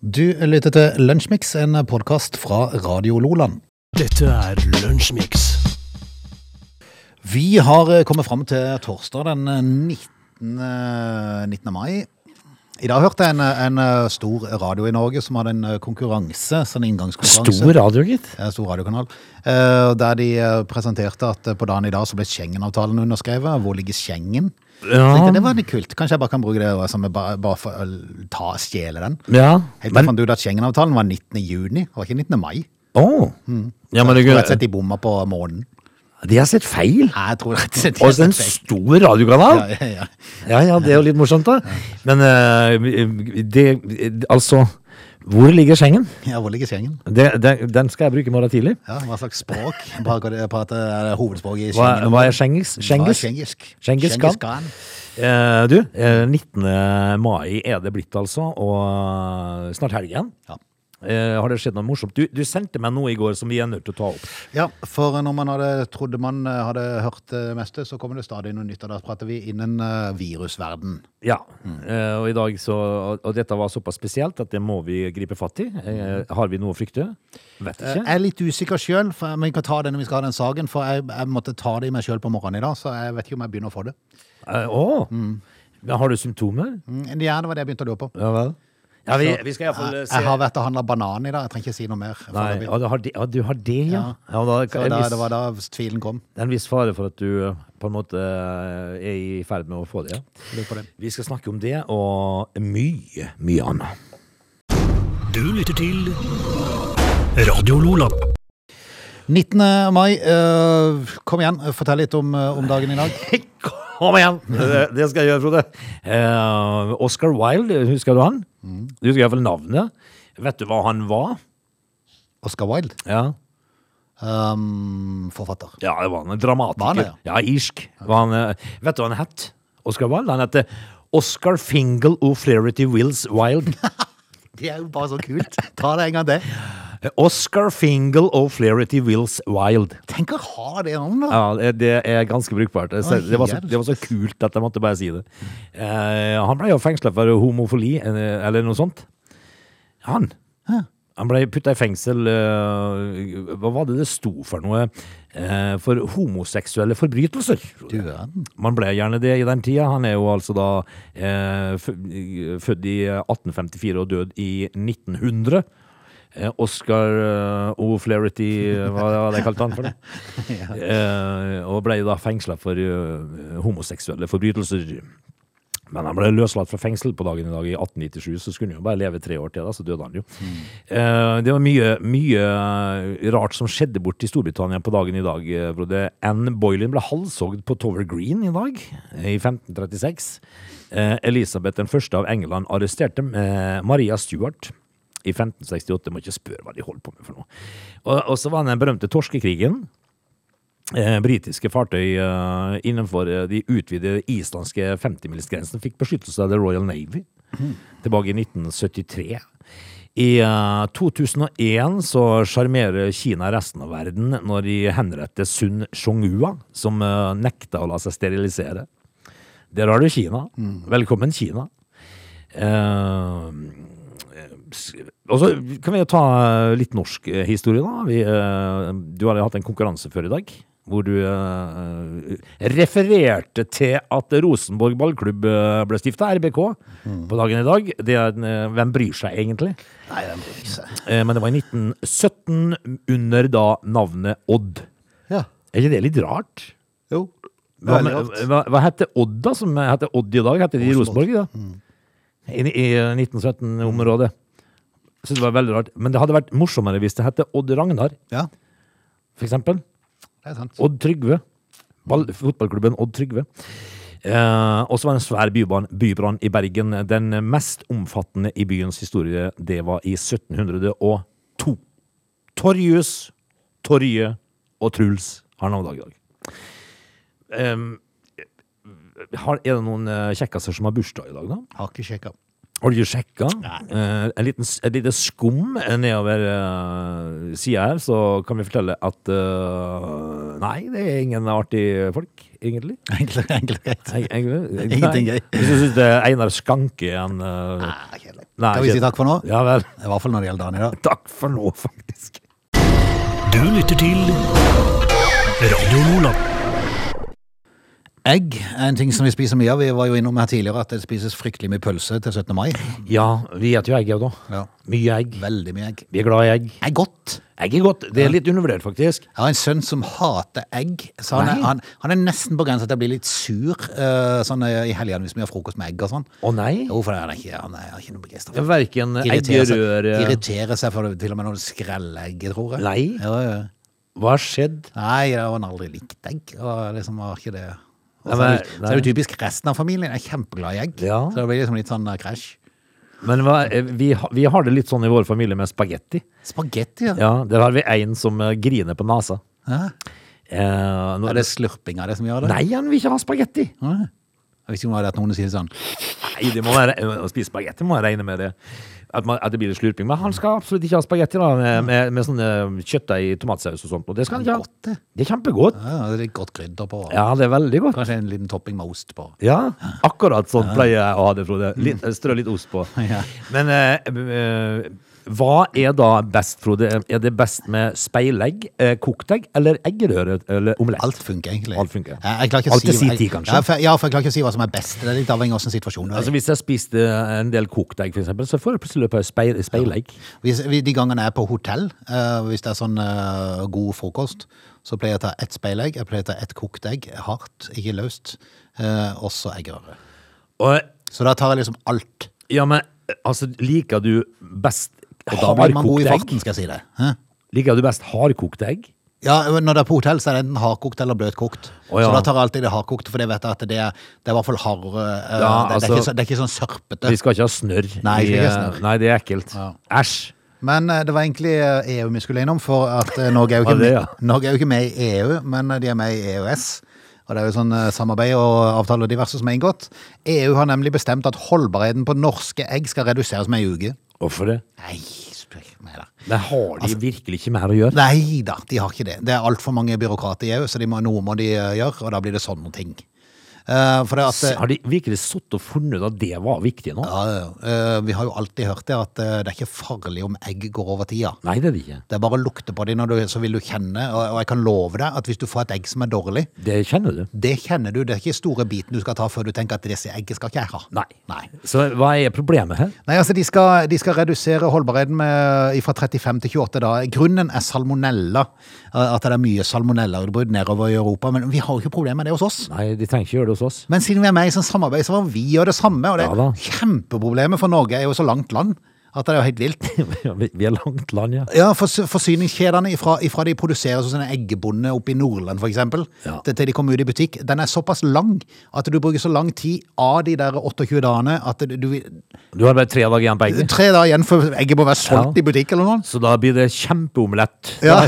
Du lytter til Lunsjmix, en podkast fra Radio Loland. Dette er Lunsjmix. Vi har eh, kommet fram til torsdag den eh, 19. eh, 19. mai. I dag hørte jeg en, eh, en eh, stor radio i Norge som hadde en eh, konkurranse, sånn inngangskonkurranse. Stor radio, gitt. Eh, stor radiokanal. eh, Der de eh, presenterte at eh, på dagen i dag så ble Schengen-avtalen underskrevet. Hvor ligger Schengen? Så tenkte jeg, Det var litt kult. Kanskje jeg bare kan bruke det og som jeg bare, bare for å ta, stjele den. ja. Helt til jeg Men, fant ut at Schengen-avtalen var 19. juni, det var ikke 19. mai. Åh. ja, men du, Rett og slett de bomma på måneden. de har sett feil. Nei, jeg tror rett og slett de Og har så en sett feil. stor radiokanal. Ja, ja, ja. Ja, ja, det er jo litt morsomt, da. Men eh, det Altså, hvor ligger Schengen? ja, hvor ligger Schengen? Det, det, den skal jeg bruke i morgen tidlig. Ja, hva slags språk prater er det hovedspråket i Hva, Schengen? hva er Schengis? Hva er Schengis? Schengisk? Schengis Khan? Eh, du, eh, 19. mai er det blitt, altså. Og snart helgen. Ja. Eh, har det skjedd noe morsomt? Du, du sendte meg noe i går som vi er nødt til å ta opp. ja, for når man hadde, trodde man eh, hadde hørt det meste, så kommer det stadig noe nytt, og da prater vi innen eh, virusverden. Ja, Mm. eh, og i dag så og- Og dette var såpass spesielt at det må vi gripe fatt i. Eh, Har vi noe å frykte? Vet Mm. Eh, ikke. Jeg er litt usikker sjøl, men vi kan ta det når vi skal ha den saken, for jeg, jeg måtte ta det i meg sjøl på morgenen i dag, så jeg vet ikke om jeg begynner å få det. Eh, Å! Men har du symptomer? Mm, Ja, det var det jeg begynte å lure på. Ja vel. Ja, vi, vi skal iallfall Jeg, eh, se jeg har vært og handla banan i dag, jeg trenger ikke si noe mer. Nei, foreløpig. ja, du, har det, ja, du har det, ja. ja da, Så en da, viss, det var da tvilen kom. det er en viss fare for at du eh, på en måte eh, er i ferd med å få det. ja. Lurer på det. Vi skal snakke om det og mye, mye annet. Du lytter til Radio Lola. 19. mai, eh, kom igjen, fortell litt om, eh, om dagen i dag. Kom igjen! Det, det skal jeg gjøre, Frode. Eh, Oscar Wilde, husker du han? Mm. Du husker iallfall navnet. Vet du hva han var? Oscar Wilde, Ja, ehm, forfatter. ja det var han. En dramatiker. Var han det, ja? irsk. Var han, eh, vet du hva han het? Oscar Wilde? Han het Oscar Fingal O'Flaherty Wills Wilde. Det er jo bare så kult. Ta det en gang til. Oscar Fingal O'Flaherty Wills Wilde. Tenk å ha det navnet. Ja, det er ganske brukbart. Det, Oi, det, var, så, jævlig. det var så kult at jeg måtte bare si det. Eh, han ble jo fengsla for homofili, eh, eller noe sånt. Han. Hæ? Han ble putta i fengsel eh, Hva var det det sto for noe? Eh, for homoseksuelle forbrytelser. Du verden. Man ble gjerne det i den tida. Han er jo altså da eh, fø- født i 1854 og død i 1900. Eh, Oscar eh, O'Flaherty, eh, hva var det jeg kalte han for det? eh, og ble da fengsla for eh, homoseksuelle forbrytelser. Men han ble løslatt fra fengsel på dagen i dag i 1897, så skulle han jo bare leve tre år til, da, så døde han jo. Eh, det var mye, mye rart som skjedde borte i Storbritannia på dagen i dag. eh, Frode. Anne Boylin ble halshogd på Tower Green i dag, eh, i 1536. Eh, Elisabeth den første av England arresterte eh, Maria Stuart i 1568. Må ikke spørre hva de holdt på med for noe. Og, og så var den berømte torskekrigen. Eh, britiske fartøy eh, innenfor eh, de utvidede islandske 50-milsgrensen fikk beskyttelse av The Royal Navy tilbake i 1973. I eh, 2001 så sjarmerer Kina resten av verden når de henretter Sun Shongua, som eh, nekta å la seg sterilisere. Der har du Kina. Velkommen, Kina. Eh, og så kan vi jo ta eh, litt norsk eh, historie, da. Vi, eh, du har jo hatt en konkurranse før i dag. Hvor du eh, refererte til at Rosenborg ballklubb eh, ble stifta, RBK, på dagen i dag. Det er, en, eh, hvem bryr seg egentlig? Nei, den bryr seg. Eh, men det var i 1917, under da navnet Odd. Ja. Er ikke det litt rart? Jo. Hva, Veldig med- rart. hva, hva heter Odd, da? Som heter Odd i dag? Heter de Rosenborg. Rosenborg, da? I, I 1917-området. Så det var veldig rart. Men det hadde vært morsommere hvis det hette Odd Ragnar, Ja, for eksempel. det er sant. Odd Trygve. Ball, fotballklubben Odd Trygve. Eh, og så var det en svær byban- bybrann i Bergen. Den mest omfattende i byens historie, det var i 1702. Torjus, Torje og Truls har navnedag i dag. Eh, har, er det noen eh, kjekkaser som har bursdag i dag, da? Har ikke sjekka. Har du sjekka? Eh, en liten, et lite skum nedover eh, uh, sida her, så kan vi fortelle at eh, Nei, det er ingen artige folk. egentlig. Enkelt enkelt og greit. Nei, egentlig. Ingenting Nei. gøy. Hvis du syns det er Einar Skanke en eh, Ah, kjedelig. Nei, Skal vi si kjedelig. takk for nå? Ja vel. I hvert fall når det gjelder Daniel. da. Takk for nå, faktisk. Du lytter til Radio Lola. Egg er en ting som vi spiser mye av. Vi var jo innom her tidligere at det spises fryktelig mye pølse til 17. mai. Ja, vi spiser jo egg, jeg, da. Ja, Mye egg. veldig mye egg. Vi er glad i egg. Egg godt. Egg er godt. Det er litt undervurdert, faktisk. Jeg har en sønn som hater egg, så han er, Nei. han, han er nesten på grensa til å bli litt sur eh, sånn eh, i helgene hvis vi har frokost med egg og sånn. Å nei. Jo, for han er ikke, han er ikke noe begeistra for det. Verken Irriterer seg, eggerøre irriterer seg for det, til og med når du skreller egg, tror jeg. Nei. Ja, ja. Hva har skjedd? Nei, det har han aldri likt egg. Og liksom var ikke det. Og Nei, så, er men- det, så er det typisk resten av familien er kjempeglad i egg. Ja. Så det blir liksom litt sånn eh, krasj. Men hva, eh, vi, ha- vi har det litt sånn i vår familie med spagetti. Spagetti, ja. Ja, Der har vi en som eh, griner på nesa. Hæ? Eh, nå, Er det slurping av det som gjør det? nei, han vil ikke ha spagetti! Nei. Jeg visste ikke om det var det at noen sier sånn. Nei, det må være, eh, Å spise spagetti må jeg regne med det. At, man, at det blir litt slurping. Men han skal absolutt ikke ha spagetti da, med, med, med sånne eh, kjøttdeig, tomatsaus og sånt. Og det skal han ikke Godt, det. ha. Det er kjempegodt. Ja, det er litt godt krydder på. Ja, det er veldig godt. Kanskje en liten topping med ost på. Ja, akkurat sånn pleier jeg å ha det, Frode. Litt, strø litt ost på. Mm. Ja. Men eh, eh, hva er da best, Frode? Er det best med speilegg, eh, kokt egg eller eggerøre eller omelett? Alt funker, egentlig. Alt funker. Jeg, jeg klarer ikke Alt til si, sin tid, kanskje. Ja, for, ja, for jeg klarer ikke å si hva som er best. Det er litt avhengig av hvilken situasjon du er Altså i. Hvis jeg spiste en del kokt egg, for eksempel, så får jeg plutselig løpe speil, speilegg. Hvis, vi- de gangene jeg er på hotell, eh, hvis det er sånn eh, god frokost, så pleier jeg å ta ett speilegg, jeg pleier å ta ett kokt egg, hardt, ikke løst, eh, og så eggerøre. Og, Så da tar jeg liksom alt. ja, men altså, liker du best Og da blir man god i hardkokt egg? farten, skal jeg si det. Hæ? Liker du best hardkokt egg? Ja, men Når det er på hotell, så er det enten hardkokt eller bløtkokt. Å, ja. Så da tar jeg alltid det hardkokte, for det vet jeg at det er, det er i hvert fall hardere. eh, Ja, det, det, er altså- ikke, så- det er ikke sånn sørpete. Vi skal ikke ha snørr. Nei, vi skal i, ikke ha eh, snørr. Nei, det er ekkelt. Ja. Æsj. Men eh, det var egentlig eh, EU vi skulle innom, for at eh, Norge er jo ikke, Var det, ja? med, Norge er jo ikke med i EU, men eh, de er med i EØS. Og det er jo sånn eh, samarbeid og avtaler og diverse som er inngått. EU har nemlig bestemt at holdbarheten på norske egg skal reduseres med en uke. Hvorfor det? Nei, spør ikke meg da. Det har de virkelig ikke mer å gjøre. Altså- Nei da, de har ikke det. Det er altfor mange byråkrater i EU, så de må, noe må de eh, gjøre, og da blir det sånne ting. Eh, for det at... eh, Har de virkelig sittet og funnet ut at det var viktig nå? Ja, ja, ja. Eh, vi har jo alltid hørt det at eh, det er ikke farlig om egg går over tida. Nei, det er det ikke. Det er bare å lukte på dem, så vil du kjenne. Og, og jeg kan love deg at hvis du får et egg som er dårlig, Det kjenner du. det kjenner du. Det er ikke store biten du skal ta før du tenker at disse egget skal ikke jeg ha. Nei. Nei. Så hva er problemet her? Nei, altså De skal, de skal redusere holdbarheten med, eh, fra 35 til 28 da. Grunnen er salmonella. eh, At det er mye salmonellautbrudd nedover i Europa. Men vi har jo ikke problem med det hos oss. Nei, de trenger ikke gjøre det hos oss. Men siden vi er med i sånn samarbeid, så må vi gjøre det samme. Og det Ja da. kjempeproblemet for Norge er jo så langt land at det er jo helt vilt. Vi vi er langt land, ja. Ja, forsy- forsyningskjedene ifra, ifra de produserer sånn en eggebonde oppe i Nordland for eksempel, Ja. til, til de kommer ut i butikk, den er såpass lang at du bruker så lang tid av de der 28 dagene at du, Du har bare tre dager igjen på egget. tre dager igjen før egget må være solgt i Ja. butikk eller noe. Så da blir det kjempeomelett. Ja.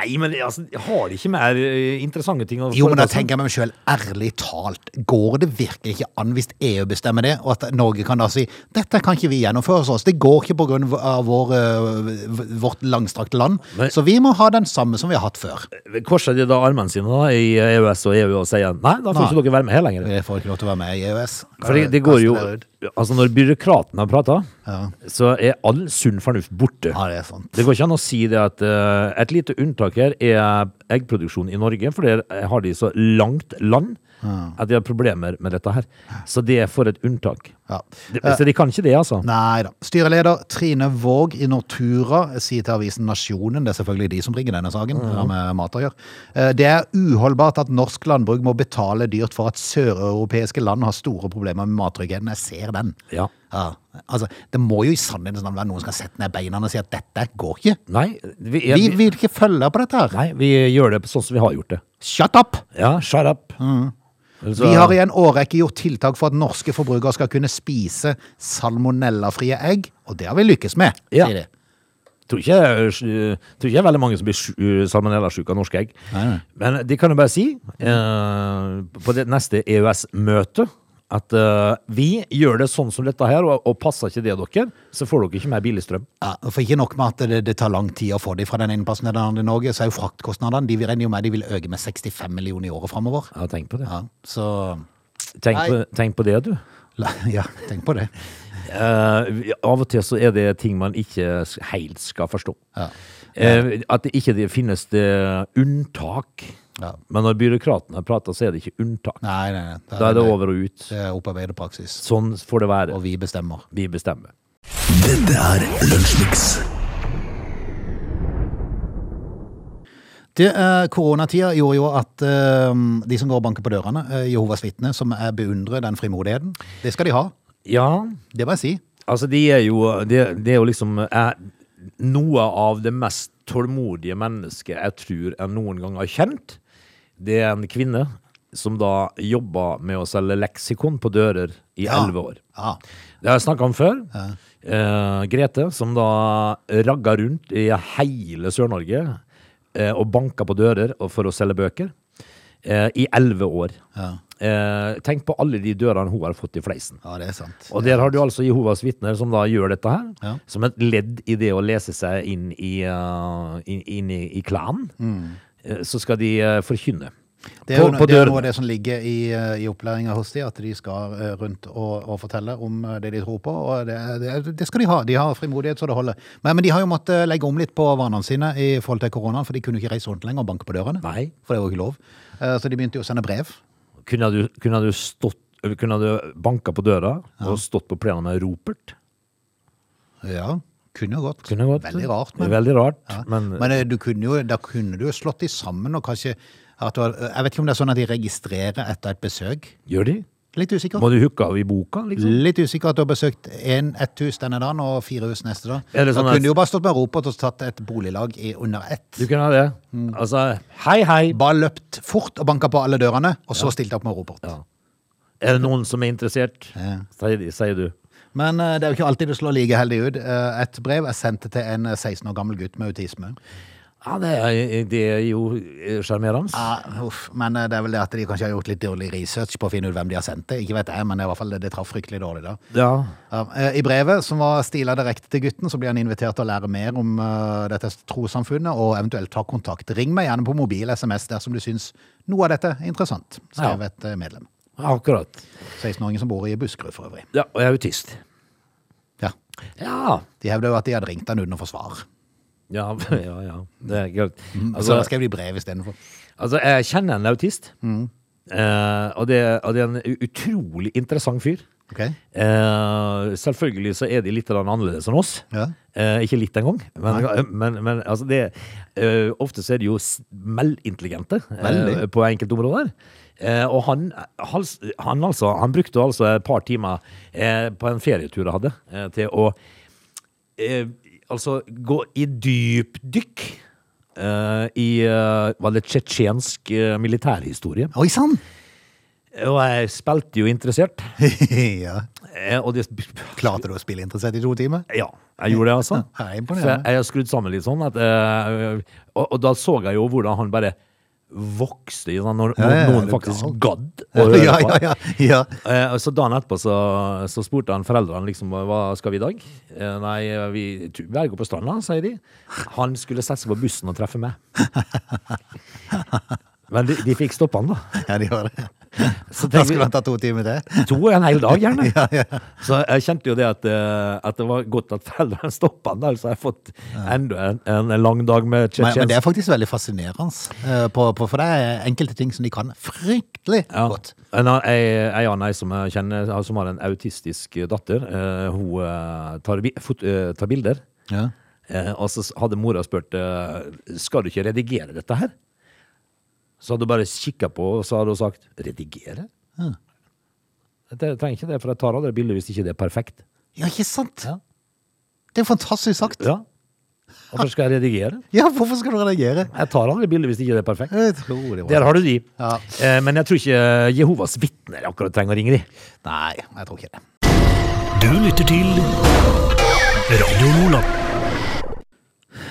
Nei, men altså, har de ikke mer eh, interessante ting å Jo, men da foreta seg? tenker jeg meg selv, ærlig talt, går det virkelig ikke an hvis EU bestemmer det, og at Norge kan da si, dette kan ikke vi gjennomføre hos oss, det går ikke på grunn av vår, øh, v- vårt langstrakte land, Men- så vi må ha den samme som vi har hatt før. Eh, Korser de da armene sine da, i EØS og EU og sier nei, da får Nei. ikke dere være med her lenger. Vi får ikke lov til å være med i EØS. For det, det går jo Kaster det ut. Altså, når byråkratene prater, Ja. så er all sunn fornuft borte. Ja, det er sant. Det går ikke an å si det at eh, et lite unntak her er eggproduksjon i Norge, for der eh, har de så langt land at de har problemer med dette her. Så det er for et unntak. Ja. Eh, Det, så de kan ikke det, altså. Nei da. Styreleder Trine Våg i Nortura sier til avisen Nasjonen, det er selvfølgelig de som bringer denne saken, det har med mat å gjøre, eh, det er uholdbart at norsk landbruk må betale dyrt for at søreuropeiske land har store problemer med mattryggheten. Jeg ser den. Ja. Ja. Altså, det må jo i sannhetens navn være noen som skal sette ned beina og si at dette går ikke. Nei, vi, er, Vi vi, vil ikke følge på dette her. nei, vi gjør det sånn som vi har gjort det. Shut up! Ja, shut up. Så- Mm. Vi har i en årrekke gjort tiltak for at norske forbrukere skal kunne spise salmonellafrie egg, og det har vi lykkes med, Ja. sier de. tror ikke, eh, tror ikke det er veldig mange som blir sju- salmonellasjuke av norske egg. Nei, nei. Men de kan jo bare si, eh, på det neste EØS-møtet, E at eh, vi gjør det sånn som dette her, og, og passer ikke det dere, så får dere ikke mer billig strøm. Ja, for ikke nok med at det, det tar lang tid å få de fra den ene plassen til den andre i Norge, så er jo fraktkostnadene De vi regner jo med de vil øke med 65 millioner i året framover. Ja, tenk på det. Ja, så Tenk, på, tenk på det, du. la- Ja, tenk på det. Eh, vi- av og til så er det ting man ikke s- helt skal forstå. Ja. Eh, at det ikke det finnes det unntak. Ja. Men når byråkratene prater, så er det ikke unntak. Nei, nei, nei. Da er det over og ut. Det er opparbeidet praksis. Sånn får det være. Og vi bestemmer. Vi bestemmer. Dette er Lunsjmix. Det, eh, koronatida gjorde jo at eh, de som går og banker på dørene, eh, Jehovas vitner, som jeg beundrer den frimodigheten, det skal de ha. Ja, Det må jeg si. altså de er jo Det, det er jo liksom eh, noe av det mest tålmodige mennesket jeg tror jeg noen gang har kjent. Det er en kvinne som da jobba med å selge leksikon på dører i Ja. elleve år. Ja. Det har jeg snakka om før. Eh, Grete, som da ragga rundt i hele Sør-Norge eh, og banka på dører og- for å selge bøker eh, i elleve år. Ja. Eh, tenk på alle de dørene hun har fått i fleisen. ja, det er sant. Og der har du altså Jehovas vitner som da gjør dette her, Ja. som et ledd i det å lese seg inn i, eh, inn, inn i, i klanen. Eh, Så skal de eh, forkynne. Mm. Det er, jo, På- på det er dørene. noe av det som ligger i, eh, i opplæringa hos de, at de skal eh, rundt og, og fortelle om eh, det de tror på. og det, det, det skal de ha. De har frimodighet så det holder. Men, men de har jo måttet eh, legge om litt på vanene sine i forhold til koronaen, for de kunne ikke reise rundt lenger og banke på dørene. Nei. For det var jo ikke lov. Eh, Så de begynte jo å sende brev. Kunne du, kunne du stått eller Kunne du banka på døra og stått på plenen med Ropert? Ja, kunne jo gått. Kunne gått. Veldig rart, men, Veldig rart, ja. men, men eh, du kunne jo, da kunne du jo slått de sammen og kanskje at du, har- Jeg vet ikke om det er sånn at de registrerer etter et besøk. gjør de? Litt usikker. Må du hooke av i boka, liksom? Litt usikker at du har besøkt en, ett hus denne dagen og fire hus neste dag. Er det sånn da at- kunne du jo bare stått med ropert og tatt et boliglag i under ett. Du kunne ha det. Mm. Altså, hei, hei. Bare løpt fort og banka på alle dørene, og så stilte opp med ropert. Ja. Er det noen som er interessert? Ja. Sier, de, sier du. Men eh, det er jo ikke alltid det slår like heldig ut. Eh, et brev er sendt til en eh, 16 år gammel gutt med autisme. Ja, det er, det er jo sjarmerende. Ja, uff, men eh, det er vel det at de kanskje har gjort litt dårlig research på å finne ut hvem de har sendt det. Ikke vet jeg, men det, er i hvert fall, det, det traff fryktelig dårlig da. Ja. Ja, eh, I brevet som var stila direkte til gutten, så blir han invitert til å lære mer om eh, dette trossamfunnet og eventuelt ta kontakt. Ring meg gjerne på mobil SMS dersom du syns noe av dette er interessant, skrev Ja. et eh, medlem. akkurat. 16-åringen som bor i Buskerud for øvrig. Ja, og jeg er autist. Ja. Ja. De hevder jo at de hadde ringt han uten å få svar. Ja, ja, ja. Det er greit. Mm. så Altså, da skrev de brev istedenfor. altså, jeg kjenner en autist. Eh, og, det, og det er en u- utrolig interessant fyr. Ok? Eh, selvfølgelig så er de litt grann annerledes enn oss. Ja. Eh, ikke litt engang. Men, men, men altså det, eh, ofte så er de jo smellintelligente Veldig. eh, på enkelte områder. Eh, og han, han, han, altså, han brukte altså et par timer eh, på en ferietur jeg hadde, eh, til å eh, altså gå i dypdykk eh, i eh, Var det tsjetsjensk eh, militærhistorie? Oi sann! Og jeg spilte jo interessert. ja. Eh, og det Klarte du å spille interessert i to timer? Ja, jeg gjorde det, altså. Ja, jeg er For imponerende. jeg, jeg har skrudd sammen litt sånn. At, eh, og, og da så jeg jo hvordan han bare vokste i sånn, når, Ja, ja, ja, når det noen er faktisk galt. gadd Ja, å høre ja, på. ja, ja. Eh, og så dagen etterpå så, så spurte han foreldrene liksom hva skal vi i dag. Eh, nei, vi tu- vi går på stranda, sier de. Han skulle sette seg på bussen og treffe meg. Men de, de fikk stoppe han, da. ja, de gjør det. Så Da tenker vi- skulle han ta to timer til. to og en hel dag, gjerne. Så jeg kjente jo det at, eh, at det var godt at foreldrene stoppa den, der, så jeg har fått enda en, en lang dag med Men, men det tsjetsjensk. er faktisk veldig fascinerende. eh, På, på, for det er enkelte ting som de kan fryktelig Ja. godt. En annen- Ei ei annen jeg som jeg kjenner, eh, som har en autistisk eh, datter, eh, hun eh, tar, vi- fot, eh, tar bilder. Ja. Eh, og så s- hadde mora spurt eh, skal du ikke redigere dette her. Så hadde hun bare kikka på, og så hadde hun sagt redigere? Jeg trenger ikke det, for jeg tar aldri bilder hvis ikke det er perfekt. Ja, ikke sant? Ja. Det er jo fantastisk sagt. Ja. Hvorfor skal jeg redigere? Ja, hvorfor skal du reagere? Jeg tar aldri bilder hvis ikke det er perfekt. Jeg tror det var Der har du de. Ja. Eh, Men jeg tror ikke Jehovas vitner akkurat trenger å ringe de. Nei, jeg tror ikke det. Du lytter til Radio Nordland.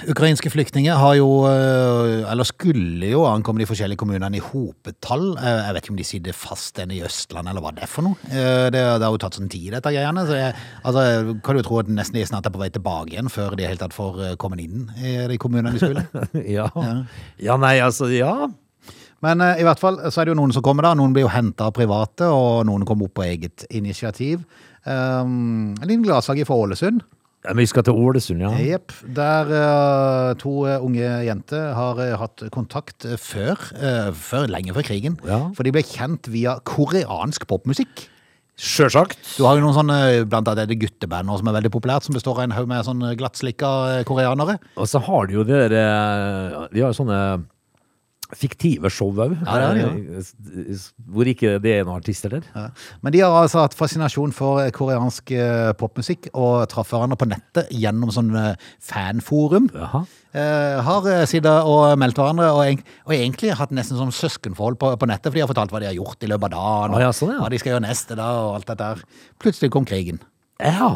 Ukrainske flyktninger har jo, eh, eller skulle jo ankomme de forskjellige kommunene i hopetall. Eh, Jeg vet ikke om de sitter fast enn i Østland, eller hva det er for noe. Eh, Det, det har jo tatt sånn tid, dette greiene. Så jeg, altså, kan jo tro at nesten de snart er på vei tilbake igjen, før de helt tatt får eh, kommet inn i de kommunene de skulle. Ja. ja, nei, altså, ja. Men eh, i hvert fall så er det jo noen som kommer da. Noen blir jo henta av private, og noen kommer opp på eget initiativ. Um, en liten gladsak fra Ålesund. Ja, men Vi skal til Ålesund, ja. Jepp. Der eh, to eh, unge jenter har eh, hatt kontakt eh, før, eh, før lenge før krigen. Ja. For de ble kjent via koreansk popmusikk. Sjølsagt. Du har jo noen sånne, eh, blant annet er det gutteband nå som er veldig populært, som består av en haug med sånn glattslikka eh, koreanere. Og så har de jo det der eh, De har jo sånne fiktive show òg. Ja, det har Hvor ikke det er noen artister der. Ja. Men de har altså hatt fascinasjon for eh, koreansk eh, popmusikk, og traff hverandre på nettet gjennom sånn eh, fanforum. Jaha. Eh, har eh, sittet og meldt hverandre, og, egent- og egentlig hatt nesten sånn søskenforhold på, på nettet, for de har fortalt hva de har gjort i løpet av dagen, Ah, og ja, sånn, ja. hva de skal gjøre neste da, og alt dette her. Plutselig kom krigen. Ja.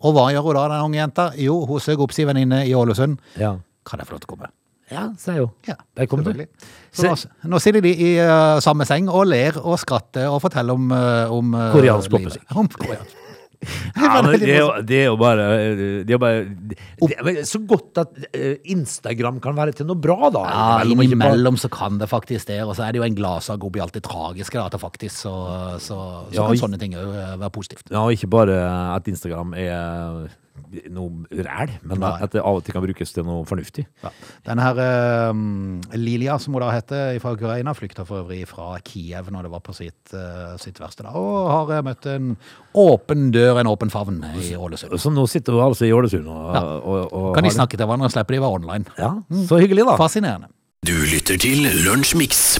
Og hva gjør hun da, den unge jenta? Jo, hun søker opp sin venninne i Ålesund. ja. Kan jeg få lov til å komme? Ja, sier jo. Ja, Der kom du. selvfølgelig. Så nå, nå sitter de i eh, samme seng og ler og skratter og forteller om, eh, om eh, Koreansk livet. popmusikk. Om koreansk. Ja, men veldig det, er jo, det er jo bare, eh, det er jo bare det er vel Så godt at eh, Instagram kan være til noe bra, da. Ja, Innimellom, ikke bare- Innimellom så kan det faktisk det, og så er det jo en gladsak oppi alt det tragiske. Da, at det faktisk, så så, så Ja, kan i- sånne ting òg være positivt. Ja, og ikke bare at Instagram er noe ræl, men Nei. at det av og til kan brukes til noe fornuftig. Denne her eh, Lilia, som hun da heter fra Ukraina, flykta for øvrig fra Kiev når det var på sitt, eh, sitt verste, da, og har eh, møtt en åpen dør, en åpen favn i Ålesund. Så nå sitter hun altså i Ålesund og, og, og Kan de har det- snakke Mm. til hverandre og slippe de være online. Ja, så hyggelig, da. Fascinerende. Du lytter til Lunsjmix.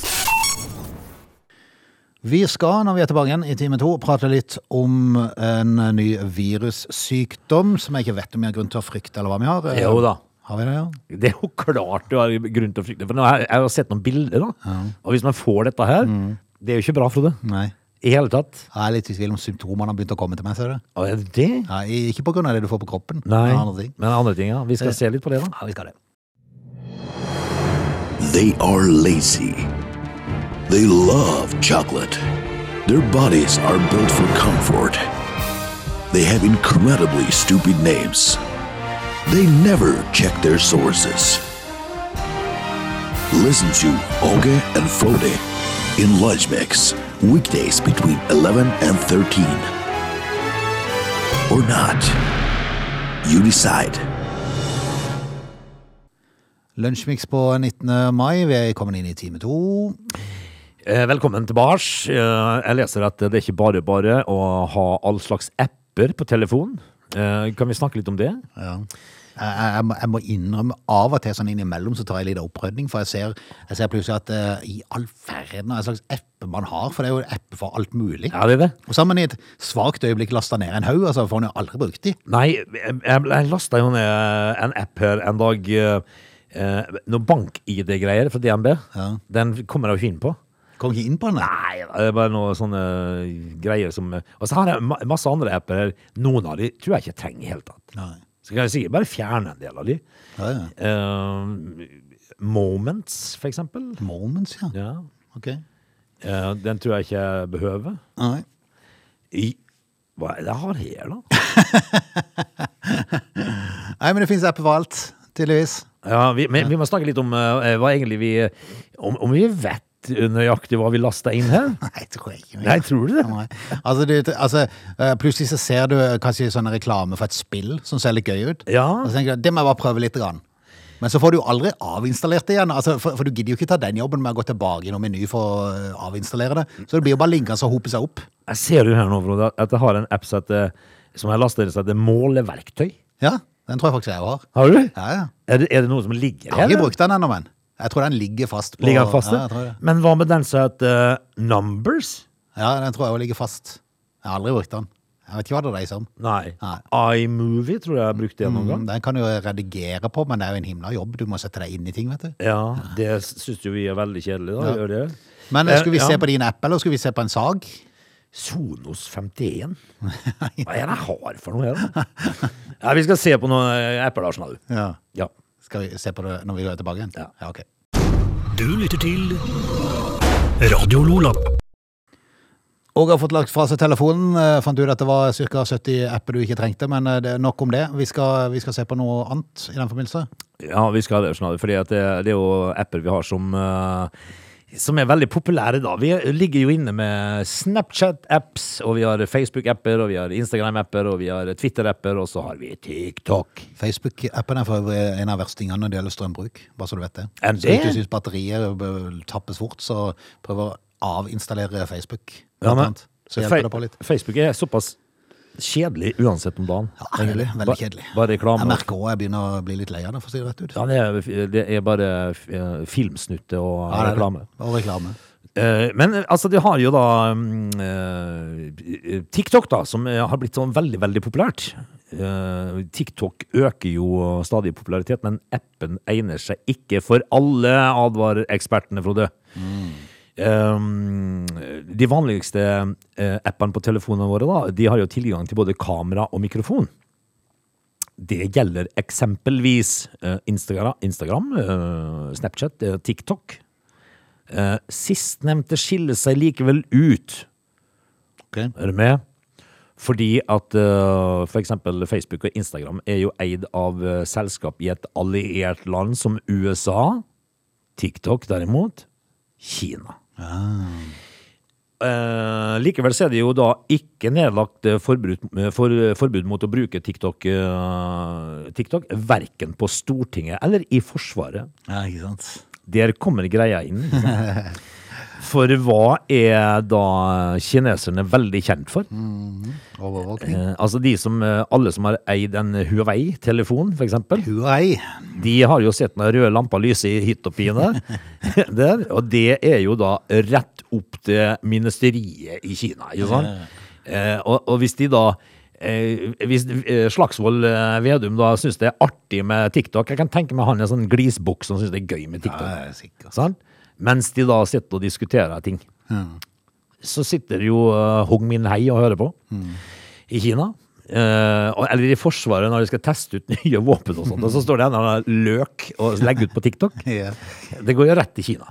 Vi skal, når vi er tilbake igjen i time to, prate litt om en ny virussykdom som jeg ikke vet om vi har grunn til å frykte, eller hva vi har. Jo da. Har vi det, ja? Det er jo klart du har grunn til å frykte. For nå har jeg, jeg har sett noen bilder, da. Og hvis man får dette her Mm. Det er jo ikke bra, Frode. Nei. I hele tatt. Jeg er litt i tvil om symptomene har begynt å komme til meg, ser du. Og er det det? Ja, i- ikke på grunn av det du får på kroppen. Nei. men andre ting. Men andre ting, ja. Vi skal Eh. se litt på det, da. Ja, vi skal det. They are lazy. They love chocolate. Their bodies are built for comfort. They have incredibly stupid names. They never check their sources. Listen to Oge and Frode in Lunch Mix, weekdays between 11 and 13. Or not. You decide. Lunsjmix på 19. mai. Vi er kommet inn i time to. Eh, Velkommen tilbake. Eh, Jeg leser at det er ikke bare bare å ha all slags apper på telefonen. Eh, Kan vi snakke litt om det? Ja. Jeg, jeg, jeg må- jeg må innrømme av og til sånn innimellom så tar jeg litt opprydning, for jeg ser, jeg ser plutselig at eh, i all verden hva slags app man har, for det er jo app for alt mulig. Ja, det er det. Og så har man i et svakt øyeblikk lasta ned en haug, altså, for han har jo aldri brukt de. Nei, jeg, jeg jeg lasta jo ned en app her en dag. eh, eh, Noe bank-ID-greier fra DNB. Ja. Den kommer jeg jo ikke inn på. Kom ikke inn på den. Nei, det er bare noen sånne eh, greier som Og så har jeg ma- masse andre apper her. Noen av de tror jeg ikke jeg trenger i det hele tatt. Nei. Så kan jeg sikkert bare fjerne en del av de. Ja, ja. Eh, moments, for eksempel. Moments, ja. Ja. Ok. Eh, den tror jeg ikke jeg behøver. Nei. I, hva er det jeg har her, da? Nei, men det fins apper for alt, tydeligvis. Ja, vi, men vi må snakke litt om eh, hva egentlig vi om, om vi vet nøyaktig hva vi lasta inn her? Nei, tror jeg ikke. Nei, tror du det? Nei. Altså, du, altså, eh, plutselig så ser du eh, kanskje sånn reklame for et spill som ser litt gøy ut. Ja. Og så tenker du, det må jeg bare prøve litt. Grann. Men så får du jo aldri avinstallert det igjen. Altså, for, for du gidder jo ikke ta den jobben med å gå tilbake i noen meny for å eh, avinstallere det. Så det blir jo bare linkende og hoper seg opp. Jeg ser jo her nå, Frode, at jeg har en app som heter- som jeg lasta inn som heter Måleverktøy. Ja, den tror jeg faktisk jeg også har. Har du? Ja, ja. Er det, er det noe som ligger Jeg har her? ikke brukt den ennå, men. Jeg tror den ligger fast. På, Ligger den fast? Ja, jeg tror det. Men hva med den som heter eh, Numbers? Ja, den tror jeg også ligger fast. Jeg har aldri brukt den. Jeg vet ikke hva det dreier seg om. Nei. Nei. iMovie tror jeg jeg brukte en gang. Mm, Den kan du jo redigere på, men det er jo en himla jobb. Du må sette deg inn i ting, vet du. Ja, det syns jo vi er veldig kjedelig, da. Ja. Gjør det. Men eh, Eh, skulle vi ja. se på din app, eller skulle vi se på en sag? Sonos 51. Hva er det jeg har for noe her? da? Ja, vi skal se på noen eh, apper, da, Snau. Ja. Ja. Skal vi se på det når vi er tilbake igjen? Ja, ok. Du lytter til Radio Lola. Og har fått lagt fra seg telefonen. Eh, Fant ut at det var ca. 70 apper du ikke trengte, men eh, det er nok om det. Vi skal, vi skal se på noe annet i den forbindelse. Ja, vi skal ha det snart, fordi at det, det er jo apper vi har som eh, som er veldig populære da. Vi ligger jo inne med Snapchat-apps, og vi har Facebook-apper, og vi har Instagram-apper, og vi har Twitter-apper, og så har vi TikTok. Facebook-appen er for øvrig en av verstingene når det gjelder strømbruk, bare så du vet det. Er Så hvis det? du syns batteriet bør tappes fort, så prøv å avinstallere Facebook. Ja, blant men- annet. så hjelper det på litt. Fe- Facebook er såpass kjedelig uansett om dagen. Ja, kjedelig. Veldig kjedelig. Ba- Bare Jeg reklame. merker også jeg begynner å bli litt lei av det, for å si det rett ut. Ja, det, er, det er bare eh, filmsnutte og Ja, det er det. reklame. Og reklame. Eh, Men eh, altså, de har jo da mm, eh, TikTok, da, som eh, har blitt sånn veldig, veldig populært. Eh, TikTok øker jo stadig i popularitet, men appen egner seg ikke for alle, advarer ekspertene, Frode. Um, de vanligste eh, appene på telefonene våre da, de har jo tilgang til både kamera og mikrofon. Det gjelder eksempelvis eh, Instagram, Instagram eh, Snapchat, eh, TikTok. Eh, Sistnevnte skiller seg likevel ut. Ok. Er du med? Fordi at eh, for eksempel Facebook og Instagram er jo eid av eh, selskap i et alliert land som USA. TikTok derimot, Kina. Eh, likevel så er det jo da ikke nedlagt eh, forbud, eh, for, eh, forbud mot å bruke TikTok, eh, TikTok verken på Stortinget eller i Forsvaret. Ja, ikke sant. Der kommer greia inn. ikke sant? For hva er da kineserne veldig kjent for? Overvåkning. Eh, altså de som, eh, Alle som har eid en Huawei-telefon, f.eks., Huawei. de har jo sett den røde lampa lyse i hytt og pine. der, og det er jo da rett opp til ministeriet i Kina. Ikke sant? Eh, og, og hvis de da Eh, hvis eh, Slagsvold eh, Vedum da syns det er artig med TikTok Jeg kan tenke meg han er en sånn glisbukk som syns det er gøy med TikTok. Ja, ja, sikkert. Sant? Mens de da sitter og diskuterer ting. Så sitter jo eh, Hong Min Hei og hører på i Kina. Eh, og- eller i Forsvaret når de skal teste ut nye våpen og sånt. Og så står det en eller annen løk og legger ut på TikTok. Ja. Det går jo rett til Kina.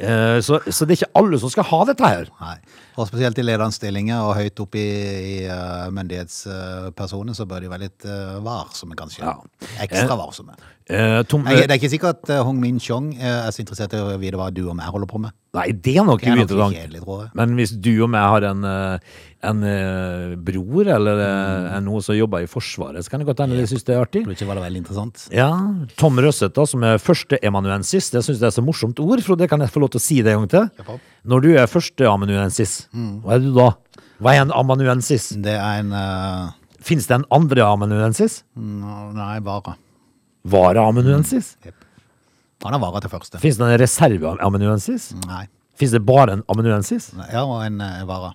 Eh, så, så det er ikke alle som skal ha dette her. Nei. Og spesielt i lederstillinger og høyt opp i, i eh, myndighetspersoner, så bør de være litt eh, varsomme, kanskje. Ja. Ekstra varsomme. Eh, Tom, Nei, det er ikke sikkert at eh, Hong Min Chong eh, er så interessert i å vite hva du og meg holder på med. Nei, det er nok Det er nok uinteressant. kjedelig, tror jeg. Men hvis du og jeg har en, eh, en eh, bror eller Mm. eh, en noen som jobber i Forsvaret, så kan det godt hende de syns det er artig. Tror ikke det var veldig interessant. Ja, Tom Røseth, da, som er førsteemanuensis. Det syns jeg er så morsomt ord, for det kan jeg få lov til å si det en gang til. Japp. Når du er førsteamanuensis, hva er du da? Hva er en amanuensis? Det er en eh, Fins det en andre amanuensis? n- Nei, vara. Vara-amanuensis? Han er vara til første. Fins det en reserve-amanuensis? Nei. Fins det bare en amanuensis? Ja, og en eh, vara.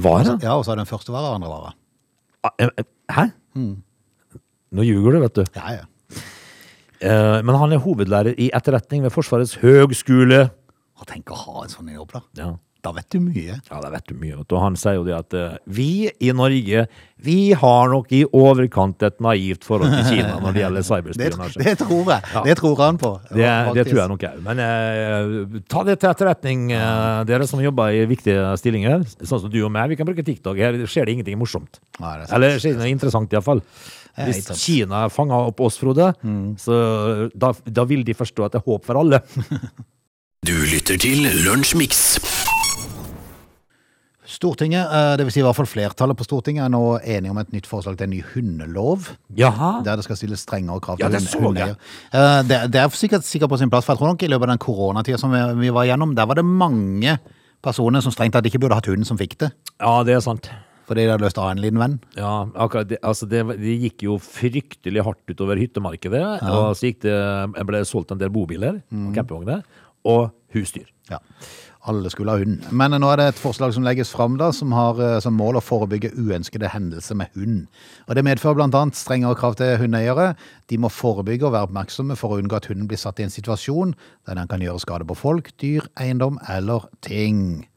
Vara? Ja, og så er det en første vara og andre vara. Ah, eh, eh, Hæ? Nå ljuger du, vet du. Ja, ja. Eh, Men han er hovedlærer i etterretning ved Forsvarets høgskole. Og tenk å ha en sånn jobb, da. Ja. Da vet du mye. Ja, det vet du mye. vet du. Og han sier jo det at eh, vi i Norge, vi har nok i overkant et naivt forhold til Kina når det gjelder Det, cyberspionasje. det tror jeg. Ja. Det tror han på. Det, det tror jeg nok òg. Men eh, ta det til etterretning, eh, dere som jobber i viktige stillinger. Sånn som du og meg. Vi kan bruke TikTok. Her skjer det ingenting morsomt. Nei, det er sant. Eller skjer det noe interessant, iallfall. er Hvis helt sant. Kina fanger opp oss, Frode, så da, da vil de forstå at det er håp for alle. Du lytter til Lunsjmix. Stortinget, eh, det vil si i hvert fall flertallet på Stortinget, er nå enige om et nytt forslag til en ny hundelov. Jaha. Der det skal stilles strengere krav Ja, til det hund- så jeg. hundeeier. Eh, Det, det er sikkert, sikkert på sin plass, for jeg tror nok i løpet av den koronatida som vi, vi var igjennom, der var det mange personer som strengt tatt ikke burde hatt hunden som fikk det. Ja, det er sant. Fordi de hadde lyst til å ha en liten venn. Ja, akkurat det, altså det, det gikk jo fryktelig hardt utover hyttemarkedet, og så gikk det, ble solgt en del bobiler, campingvogner, og husdyr. Ja. Alle skulle ha hund. Men nå er det et forslag som legges fram da, som har eh, som mål å forebygge uønskede hendelser med hund. Og Det medfører bl.a. strengere krav til hundeeiere. De må forebygge og være oppmerksomme for å unngå at hunden blir satt i en situasjon der den kan gjøre skade på folk, dyr, eiendom eller ting. Ja.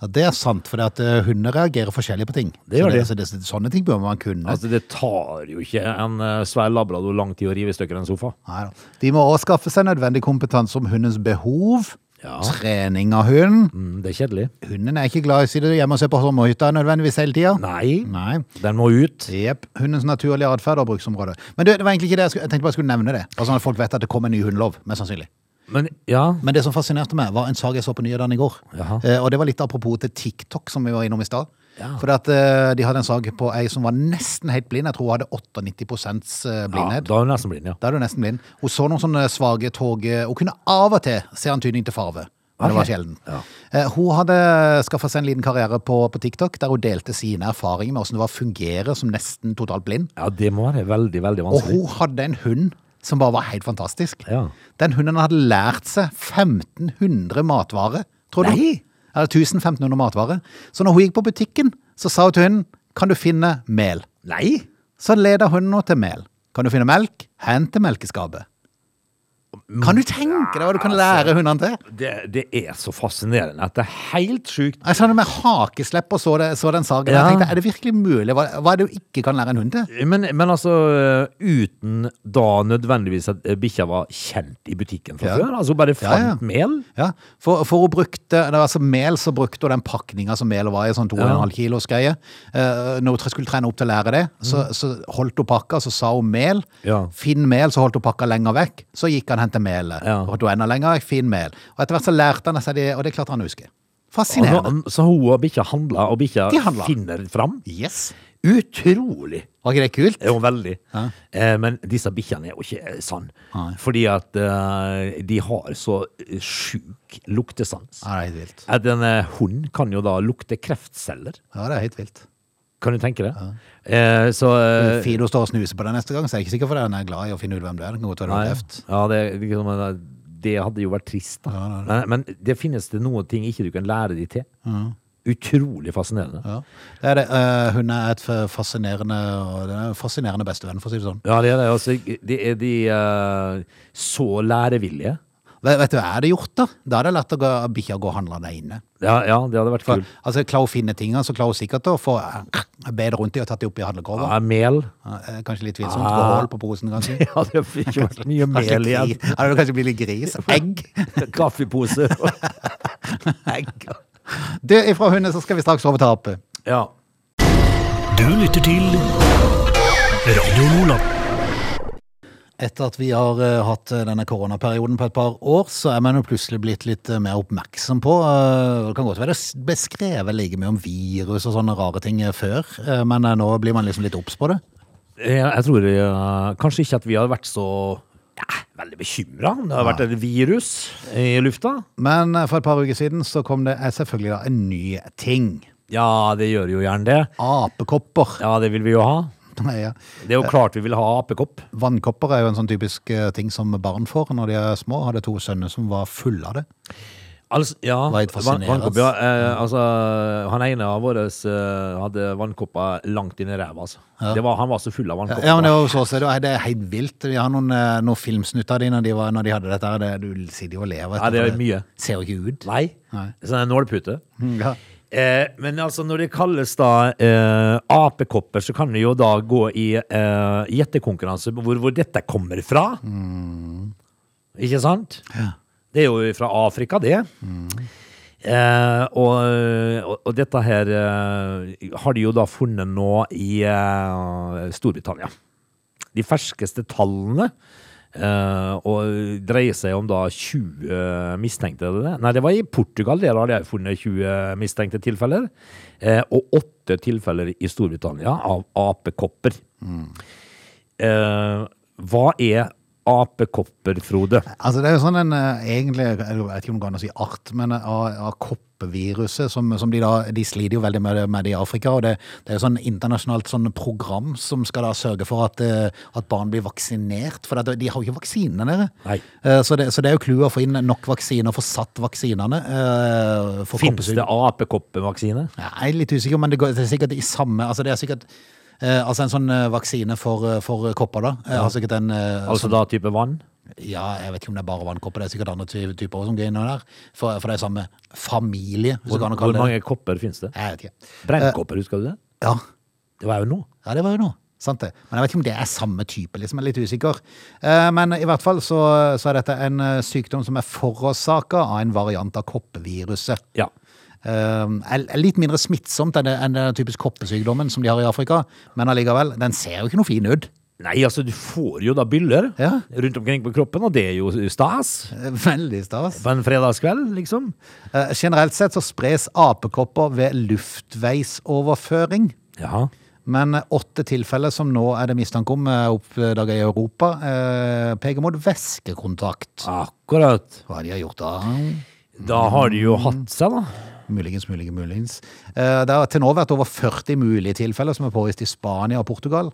Ja, det er sant, for eh, hunder reagerer forskjellig på ting. Det gjør så de. så det, sånne ting bør man kunne. Altså, det tar jo ikke en eh, svær labrador lang tid å rive i stykker en sofa. Neida. De må også skaffe seg nødvendig kompetanse om hundens behov, Ja. trening av hund. Mm, det er kjedelig. Hunden er ikke glad i å sitte hjemme og se på sommerhytta nødvendigvis hele tida. Nei, Nei. den må ut. Jep. Hundens naturlige atferd og bruksområde. Men du, det var egentlig ikke det jeg, skulle, jeg tenkte bare jeg skulle nevne det. Bare sånn at folk vet at det kom en ny hundelov, mest sannsynlig. Men ja, Men det som fascinerte meg, var en sak jeg så på nyhetene i går. Jaha. Eh, og det var litt apropos til TikTok, som vi var innom i stad. Ja. For at, eh, de hadde en sak på ei som var nesten helt blind. Jeg tror hun hadde 98 eh, ja da blindhet. er hun nesten blind, ja. Da er du nesten blind. Hun så noen sånne svage tog. Hun kunne av og til se antydning til farve. Men det Ok. var sjelden. Eh, Hun hadde skaffa seg en liten karriere på, på TikTok, der hun delte sine erfaringer med hvordan det var å fungere som nesten totalt blind. Ja, det må være veldig, veldig Og vanskelig. hun hadde en hund som bare var helt fantastisk. Altså, Ja. Den hunden hadde lært seg 1500 matvarer, tror du? Nei! Eller 1500 matvarer. Så når hun gikk på butikken, så sa hun til hunden Kan du finne mel? Nei! Så leder hunden nå til mel. Kan du finne melk? Hent til melkeskapet. Mm. Kan du tenke deg hva du kan altså. lære hundene til? Det, det er så fascinerende at det er helt sjukt. Jeg sa det med hakeslepp og så, det, så den saken. Ja. Jeg tenkte, er det virkelig mulig? Hva, hva er det du ikke kan lære en hund til? Men, men altså, eh, uten da nødvendigvis at eh, bikkja var kjent i butikken fra Ja. før? Altså, hun bare Ja, ja. fant mel? Ja, for, for hun brukte, det var altså mel, så brukte hun den pakninga som mel var i, sånn 2,5 kilos greie. Eh, når hun tre- skulle trene opp til å lære det, så, så holdt hun pakka, så sa hun mel. Ja. Finn mel, så holdt hun pakka lenger vekk. Så gikk han og hentet melet. Ja. Holdt hun enda lenger vekk, finn mel. Og etter hvert så lærte han seg det, og det klarte han å huske. Og nå- Fascinerende. Så hun og bikkja handla, og bikkja De handla. finner fram? Yes. Utrolig! Var ikke det kult? Jo, veldig. Ja. Eh, men disse bikkjene er jo ikke eh, sann. Nei. Fordi at eh, de har så eh, sjuk luktesans. Ja, det er helt vilt. At en eh, hund kan jo da lukte kreftceller. Ja, det er helt vilt. Kan du tenke det? Eh, så eh, Fido står og snuser på det neste gang, så jeg er ikke sikker på det. Han er glad i å finne ut hvem det er. Den kan godt være nei. det er kreft. Ja, det, liksom, eh, det hadde jo vært trist, da. Men, men det finnes det noen ting ikke du kan lære de til. Utrolig fascinerende. Ja. Det er det. Eh, hun er et f- fascinerende, og det er en fascinerende bestevenn, for å si det sånn. Ja, det er det. Altså, det er de eh, så lærevillige. Vet, vet du hva jeg hadde gjort, da? Da hadde jeg latt å gå- bikkja gå og handle alene. Ja, ja, det hadde vært For, kult. altså, klarer hun å finne tingene, så klarer hun sikkert å få eh, bedt rundt dem og tatt dem opp i handlekurva. Ja, mel. Eh, Kanskje litt tvilsomt. Få Ah. hull på posen, kanskje. Ja, det fikk jo vært mye Kanskje, mel gri- igjen. ja, det vil kanskje bli litt gris. Egg. Kaffepose. Egg. Du, ifra hunden så skal vi straks over til ape. Ja. Du lytter til Radio Lola. Etter at vi har eh, hatt eh, denne koronaperioden på et par år, så er man jo plutselig blitt litt eh, mer oppmerksom på eh, Det kan godt være det s- ble skrevet like mye om virus og sånne rare ting eh, før, eh, men eh, nå blir man liksom litt obs på det. Jeg, jeg tror eh, kanskje ikke at vi har vært så ja, veldig bekymra. Det har vært et virus i lufta. Men eh, for et par uker siden så kom det eh, selvfølgelig da en ny ting. Ja, det gjør jo gjerne det. Apekopper. Ja, det vil vi jo ha. Nei, ja. Det er jo klart vi vil ha apekopp. Vannkopper er jo en sånn typisk eh, ting som barn får når de er små. Hadde to sønner som var fulle av det. Altså, ja, Var helt vann- fascinerende. vannkopp, ja. Eh, Mm. altså, han ene av våre eh, hadde vannkopper langt inn i ræva. Altså. Det var, han var så full av vannkopper. Ja, men det er jo så ser du, det er helt vilt. Vi har noen, eh, noen filmsnutter av de når de, var, når de hadde dette her. Det, du sitter jo og lever. Ja, det er for mye. Ser jo ikke ut. Nei. Nei. Sånn en nålpute. Ja. Eh, men altså, når det kalles da eh, apekopper, så kan det jo da gå i eh, gjettekonkurranse hvor, hvor dette kommer fra. Mm. Ikke sant? Det er jo fra Afrika, det. Eh, og, og, og dette her eh, har de jo da funnet nå i eh, Storbritannia. De ferskeste tallene eh, og dreier seg om da 20 mistenkte. er det det? Nei, det var i Portugal. Der har de funnet 20 mistenkte tilfeller. Eh, og åtte tilfeller i Storbritannia av apekopper. Eh, hva er apekopper, Frode? Altså, det er jo sånn en eh, egentlig, jeg vet ikke om det går an å si art, men eh, av, av koppeviruset, som, som de da, de sliter jo veldig med det, med det i Afrika, og det, det er jo sånn internasjonalt sånn program som skal da sørge for at, eh, at barn blir vaksinert, for at de har jo ikke vaksinene dere. Nei. Eh, Så det, så det er jo klu å få inn nok vaksiner, få satt vaksinene. eh, for Fins koppesyke. det apekoppevaksine? Ja, Jeg er litt usikker, men det, går, det er sikkert i samme Altså, det er sikkert eh, Altså, en sånn eh, vaksine for, eh, for kopper, da. eh, Har sikkert en eh, Altså da type vann? sånn- Ja, jeg vet ikke om det er bare vannkopper, det er sikkert andre ty- typer også som går innom der. For, for det er samme familie, hvis Hvor, du kan hvor kalle det det. mange kopper finnes det? Jeg vet ikke. Eh, Brennkopper, husker du det? Ja, Det var jo nå. ja det var jo noe. Sant det. Men jeg vet ikke om det er samme type, liksom. Jeg er litt usikker. Eh, Men i hvert fall så, så er dette en eh, sykdom som er forårsaka av en variant av koppeviruset. Ja. Eh, er er litt mindre smittsomt enn det- enn den typiske koppesykdommen som de har i Afrika, men allikevel, den ser jo ikke noe fin ut. Nei, altså, du får jo da byller Ja. rundt omkring på kroppen, og det er jo stas. Eh, Veldig stas. På en fredagskveld, liksom. Eh, Generelt sett så spres apekopper ved luftveisoverføring. Ja. Men åtte tilfeller som nå er det mistanke om, er oppdaga i Europa, eh, peker mot væskekontakt. Akkurat. Hva de har gjort da? Da har de jo Mm. hatt seg, da. Muligens, muligens, muligens. Eh, Det har til nå vært over 40 mulige tilfeller som er påvist i Spania og Portugal.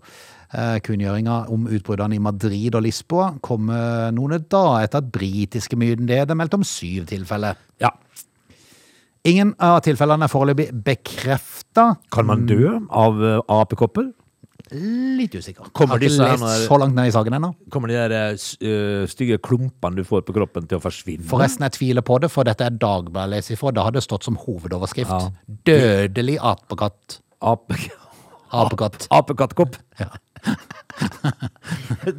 Eh, Kunngjøringa om utbruddene i Madrid og Lisboa kom eh, noen dager etter at britiske myndigheter meldte om syv tilfeller. Ja. Ingen av tilfellene er foreløpig bekrefta. Kan man dø Mm. av eh, apekopper? Litt usikker. Kommer Har ikke disse her nå, lest eller? så langt ned i saken ennå. Kommer de der eh, s- eh, stygge klumpene du får på kroppen til å forsvinne? Forresten, jeg tviler på det, for dette er Dagbladet jeg leser ifra. Da har det stått som hovedoverskrift. Ja. Dødelig apekatt. Ape, Apekatt. apekattkopp?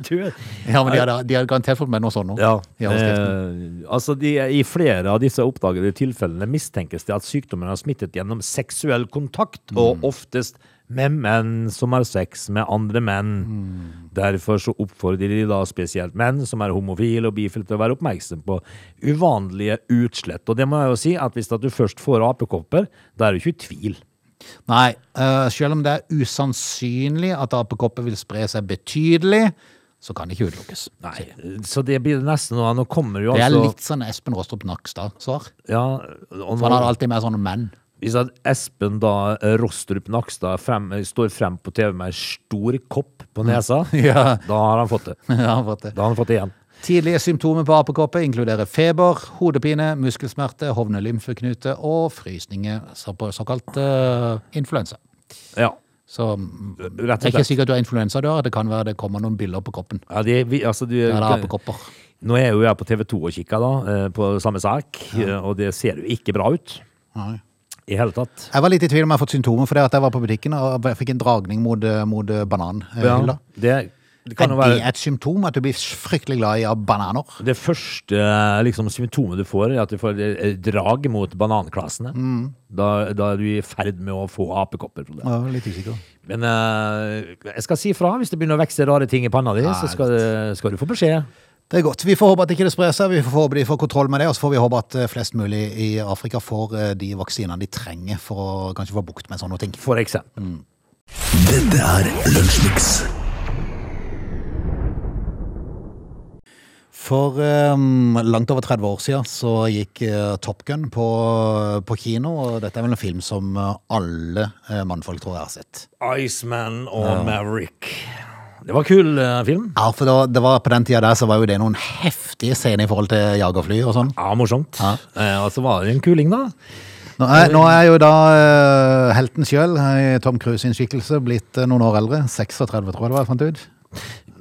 du, Ja, men de hadde, de hadde garantert fått med noe sånt nå. ja. I overskriften. eh, altså de, I flere av disse oppdagede tilfellene mistenkes det at sykdommen har smittet gjennom seksuell kontakt, Mm. og oftest med menn som har sex med andre menn. Mm. Derfor så oppfordrer de da spesielt menn som er homofile og bifile til å være oppmerksom på uvanlige utslett. Og det må jeg jo si at hvis at du først får apekopper, da er du ikke i tvil. Nei, eh, selv om det er usannsynlig at apekopper vil spre seg betydelig, så kan det ikke utelukkes. Nei, så det blir nesten noe. Nå kommer jo Det er altså litt sånn Espen Rostrup Nakstad-svar. ja, og For han har nå, alltid mer sånn menn. Hvis at Espen da eh, Rostrup Nakstad frem, eh, står frem på TV med en stor kopp på nesa, Mm. Ja. da har han fått det. Ja, for at det- Da har han fått det igjen. Tidlige symptomer på apekopper inkluderer feber, hodepine, muskelsmerte, hovne lymfeknute og frysninger, så på såkalt eh, influensa. Ja, Så mm, rett det er og ikke slett. sikkert du har influensa du har, det kan være det kommer noen byller på kroppen. Ja, det, vi, altså, du, Eller apekopper. nå er jo jeg på TV 2 og kikker da, eh, på samme sak, eh, og det ser jo ikke bra ut i hele tatt. Jeg var litt i tvil om jeg har fått symptomer for det at jeg var på butikken og jeg fikk en dragning mot, eh, mot eh, bananhylla. det, det kan er jo være... det et symptom at du blir fryktelig glad i av bananer? Det første eh, liksom, symptomet du får, er at du får eh, drag mot bananklassene. Mm. Da, da er du i ferd med å få apekopper. tror jeg. Ja, litt usikker. Men eh, jeg skal si fra hvis det begynner å vokse rare ting i panna di, så skal, skal du få beskjed. Det er godt. Vi får håpe at ikke det sprer seg, vi får håpe de får kontroll med det, og så får vi håpe at eh, flest mulig i Afrika får eh, de vaksinene de trenger for å kanskje få bukt med sånne ting. For eksempel. Dette er Lunsjmix. For eh, langt over 30 år siden så gikk eh, Top Gun på, på kino, og dette er vel en film som eh, alle eh, mannfolk tror jeg har sett. Iceman og Maverick. Det var kul eh, film. Ja, for da, det var på den tida der så var jo det noen heftige scener i forhold til jagerfly og sånn. Ja, morsomt. Eh, og så var det en kuling, da. Nå er, nå er jo da eh, helten sjøl, Tom Cruise sin skikkelse, blitt eh, noen år eldre. 36, tror jeg det var, jeg fant ut.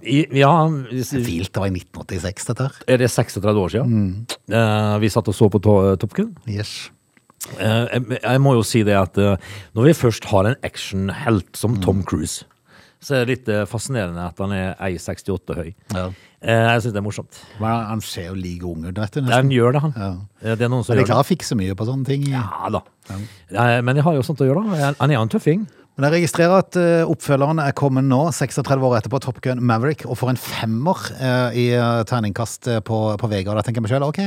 I, ja, hvis- Vilt, det var i 1986 dette her. er det 36 år siden? Eh, vi satt og så på to Top Gun. Yes. Eh, jeg, jeg må jo si det at eh, når vi først har en actionhelt som Tom Cruise, så er det litt eh, fascinerende at han er 1,68 høy. Ja. Eh, jeg syns det er morsomt. Men han ser jo like ung ut, vet du. Han nesten. gjør det, han. Ja. Eh, Det er noen som Men de gjør det. klarer å fikse mye på sånne ting. Ja da. Eh, Men jeg har jo sånt å gjøre, da. Han- Han er jo en tøffing. Men jeg registrerer at eh, oppfølgeren er kommet nå, 36 år etterpå, Top Gun Maverick, og får en femmer eh, i eh, terningkast eh, på, på VG. Og da tenker jeg meg selv, ok.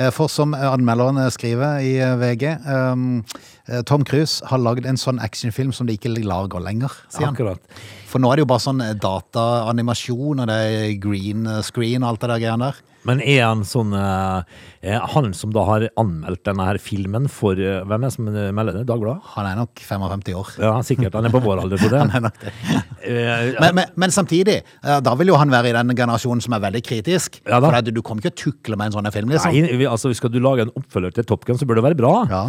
Eh, for som eh, anmelderen eh, skriver i eh, VG, ehm, eh, Tom Cruise har lagd en sånn actionfilm som de ikke lager lenger, sier han. Akkurat. For nå er det jo bare sånn eh, dataanimasjon, og det er green eh, screen og alt det der greiene der. Men er han sånn eh, eh, Han som da har anmeldt denne her filmen for eh, Hvem er det som eh, melder det? Dagbladet? Han er nok 55 år. Ja, han sikkert. Han er på vår alder, tror jeg. Han er nok det. Eh, Men, men, men samtidig, eh, da vil jo han være i den generasjonen som er veldig kritisk. Ja da. for at du kommer ikke å tukle med en sånn film, liksom. Nei, vi, altså, skal du lage en oppfølger til Top Gun, så bør det være bra. Ja.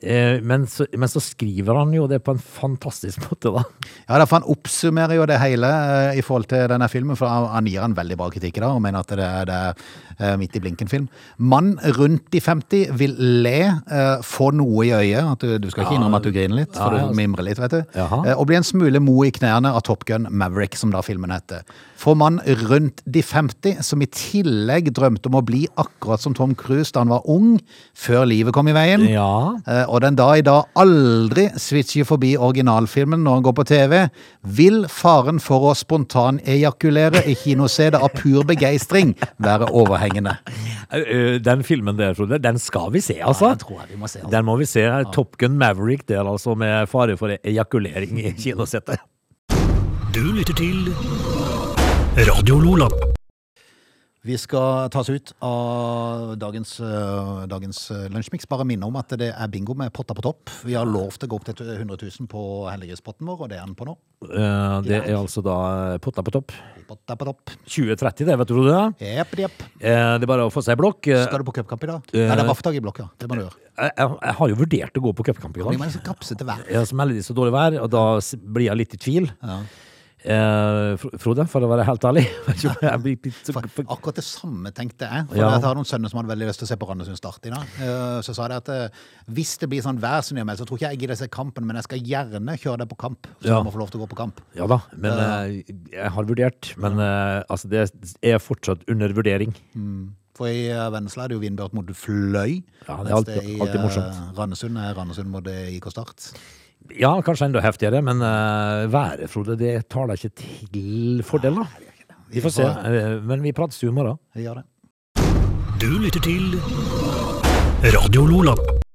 Eh, Men så, men så skriver han jo det på en fantastisk måte, da. Ja, da, for Han oppsummerer jo det hele eh, i forhold til denne filmen, for han- han gir en veldig bra kritikk i dag og mener at det, er- det er eh, midt i blinken-film. Mann rundt de 50 vil le, eh, få noe i øyet at du, du skal ikke innrømme at du griner litt, for Ja, ja, du altså. mimrer litt, vet du. Jaha. Eh, Og bli en smule mo i knærne av Top Gun Maverick, som da filmen heter. For mann rundt de 50, som i tillegg drømte om å bli akkurat som Tom Cruise da han var ung, før livet kom i veien. Ja. Eh, Og den dag i dag aldri switcher forbi originalfilmen når han går på TV, vil faren for å spontanejakulere i kinosetet av pur begeistring være overhengende. Eh, eh, Den filmen der, Frode, den skal vi se, altså. den tror jeg vi må se, altså. Den må vi se. Top Gun Maverick der, altså, med fare for ejakulering i kinosettet. Du lytter til Radio Lola. Vi skal tas ut av dagens, øh, dagens øh, lunsjmix. Bare minne om at det er bingo med potta på topp. Vi har lov til å gå opp til 100 000 på helliggresspotten vår, og det er den på nå. Eh, Det er altså da eh, Potta på topp. Potta på topp. 2030, det, vet du, Frode. Jepp, jepp. Eh, Det er bare å få seg blokk. Eh, Skal du på cupkamp i dag? Nei, det er vaffdag i blokka. Det må du gjøre. Jeg, jeg jeg har jo vurdert å gå på cupkamp i Vi dag. må nesten kapse til hver. Jeg har så heldigvis så dårlig vær, og da s- blir jeg litt i tvil. Eh, Fro- Frode, for å være helt ærlig. Jeg blir litt så- For akkurat det samme tenkte jeg. For Ja. Jeg har noen sønner som hadde veldig lyst til å se på Randesund Start i dag. Eh, Så sa de at eh, hvis det blir sånn vær som de har meldt, så tror ikke jeg gidder se kampen, men jeg skal gjerne kjøre deg på kamp. Så Ja. du må få lov til å gå på kamp. Ja da, men eh, jeg har vurdert. Men eh, altså, det er fortsatt under vurdering. For i eh, Vennesla er det jo Vindbjart mot Fløy. Ja, det er mens alltid- alltid eh, morsomt. Randesund er Randesund mot eh, IK Start. Ja, kanskje enda heftigere, men eh, været, Frode, det tar da ikke til fordel, da. Vi får se. eh, Men vi prates jo i morgen. Vi gjør det. Du lytter til Radio Lola.